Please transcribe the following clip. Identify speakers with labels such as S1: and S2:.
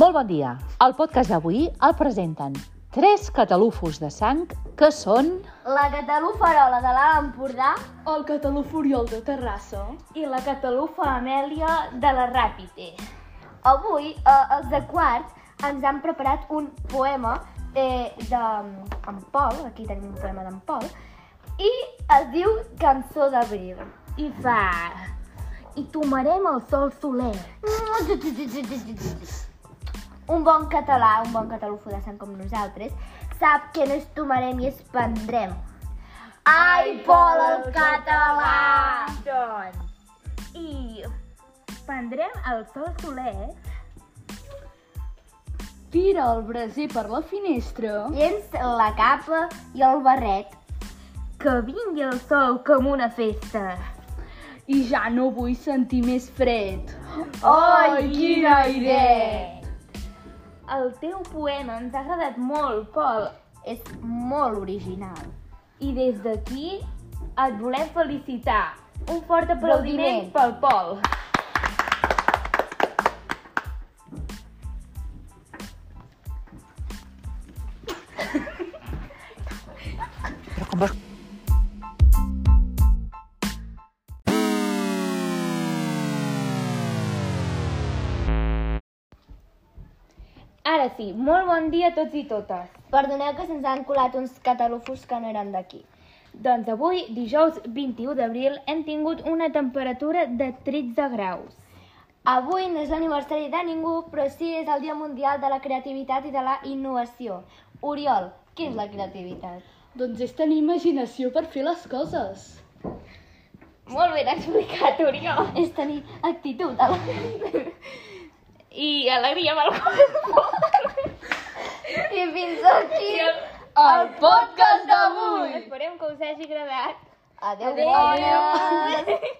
S1: Molt bon dia. El podcast d'avui el presenten tres catalufos de sang que són...
S2: La Cataluferola de l'Alt Empordà
S3: El català furiol de Terrassa.
S2: i la Catalufa Amèlia de la Ràpite. Avui, eh, els de quart ens han preparat un poema eh, d'en en Pol, aquí tenim un poema d'en Pol, i es diu Cançó d'Abril. I fa... I tomarem el sol soler. Un bon català, un bon catalufo de sang com nosaltres, sap que no ens tomarem i es prendrem. Ai, Pol, el català! Doncs... I prendrem el sol soler,
S3: Tira el braser per la finestra.
S2: llenç la capa i el barret. Que vingui el sol com una festa.
S3: I ja no vull sentir més fred.
S2: Oi, quin aire! El teu poema ens ha agradat molt, Pol. És molt original. I des d'aquí et volem felicitar. Un fort aplaudiment pel Pol.
S1: Però com vols
S2: Ara sí, molt bon dia a tots i totes. Perdoneu que se'ns han colat uns catalufos que no eren d'aquí. Doncs avui, dijous 21 d'abril, hem tingut una temperatura de 13 graus. Avui no és l'aniversari de ningú, però sí és el Dia Mundial de la Creativitat i de la Innovació. Oriol, què és la creativitat?
S3: Doncs és tenir imaginació per fer les coses.
S2: Molt ben explicat, Oriol. És tenir actitud a la... I alegria amb el I fins aquí el, el podcast d'avui. Esperem que us hagi agradat. Adéu, Adéu.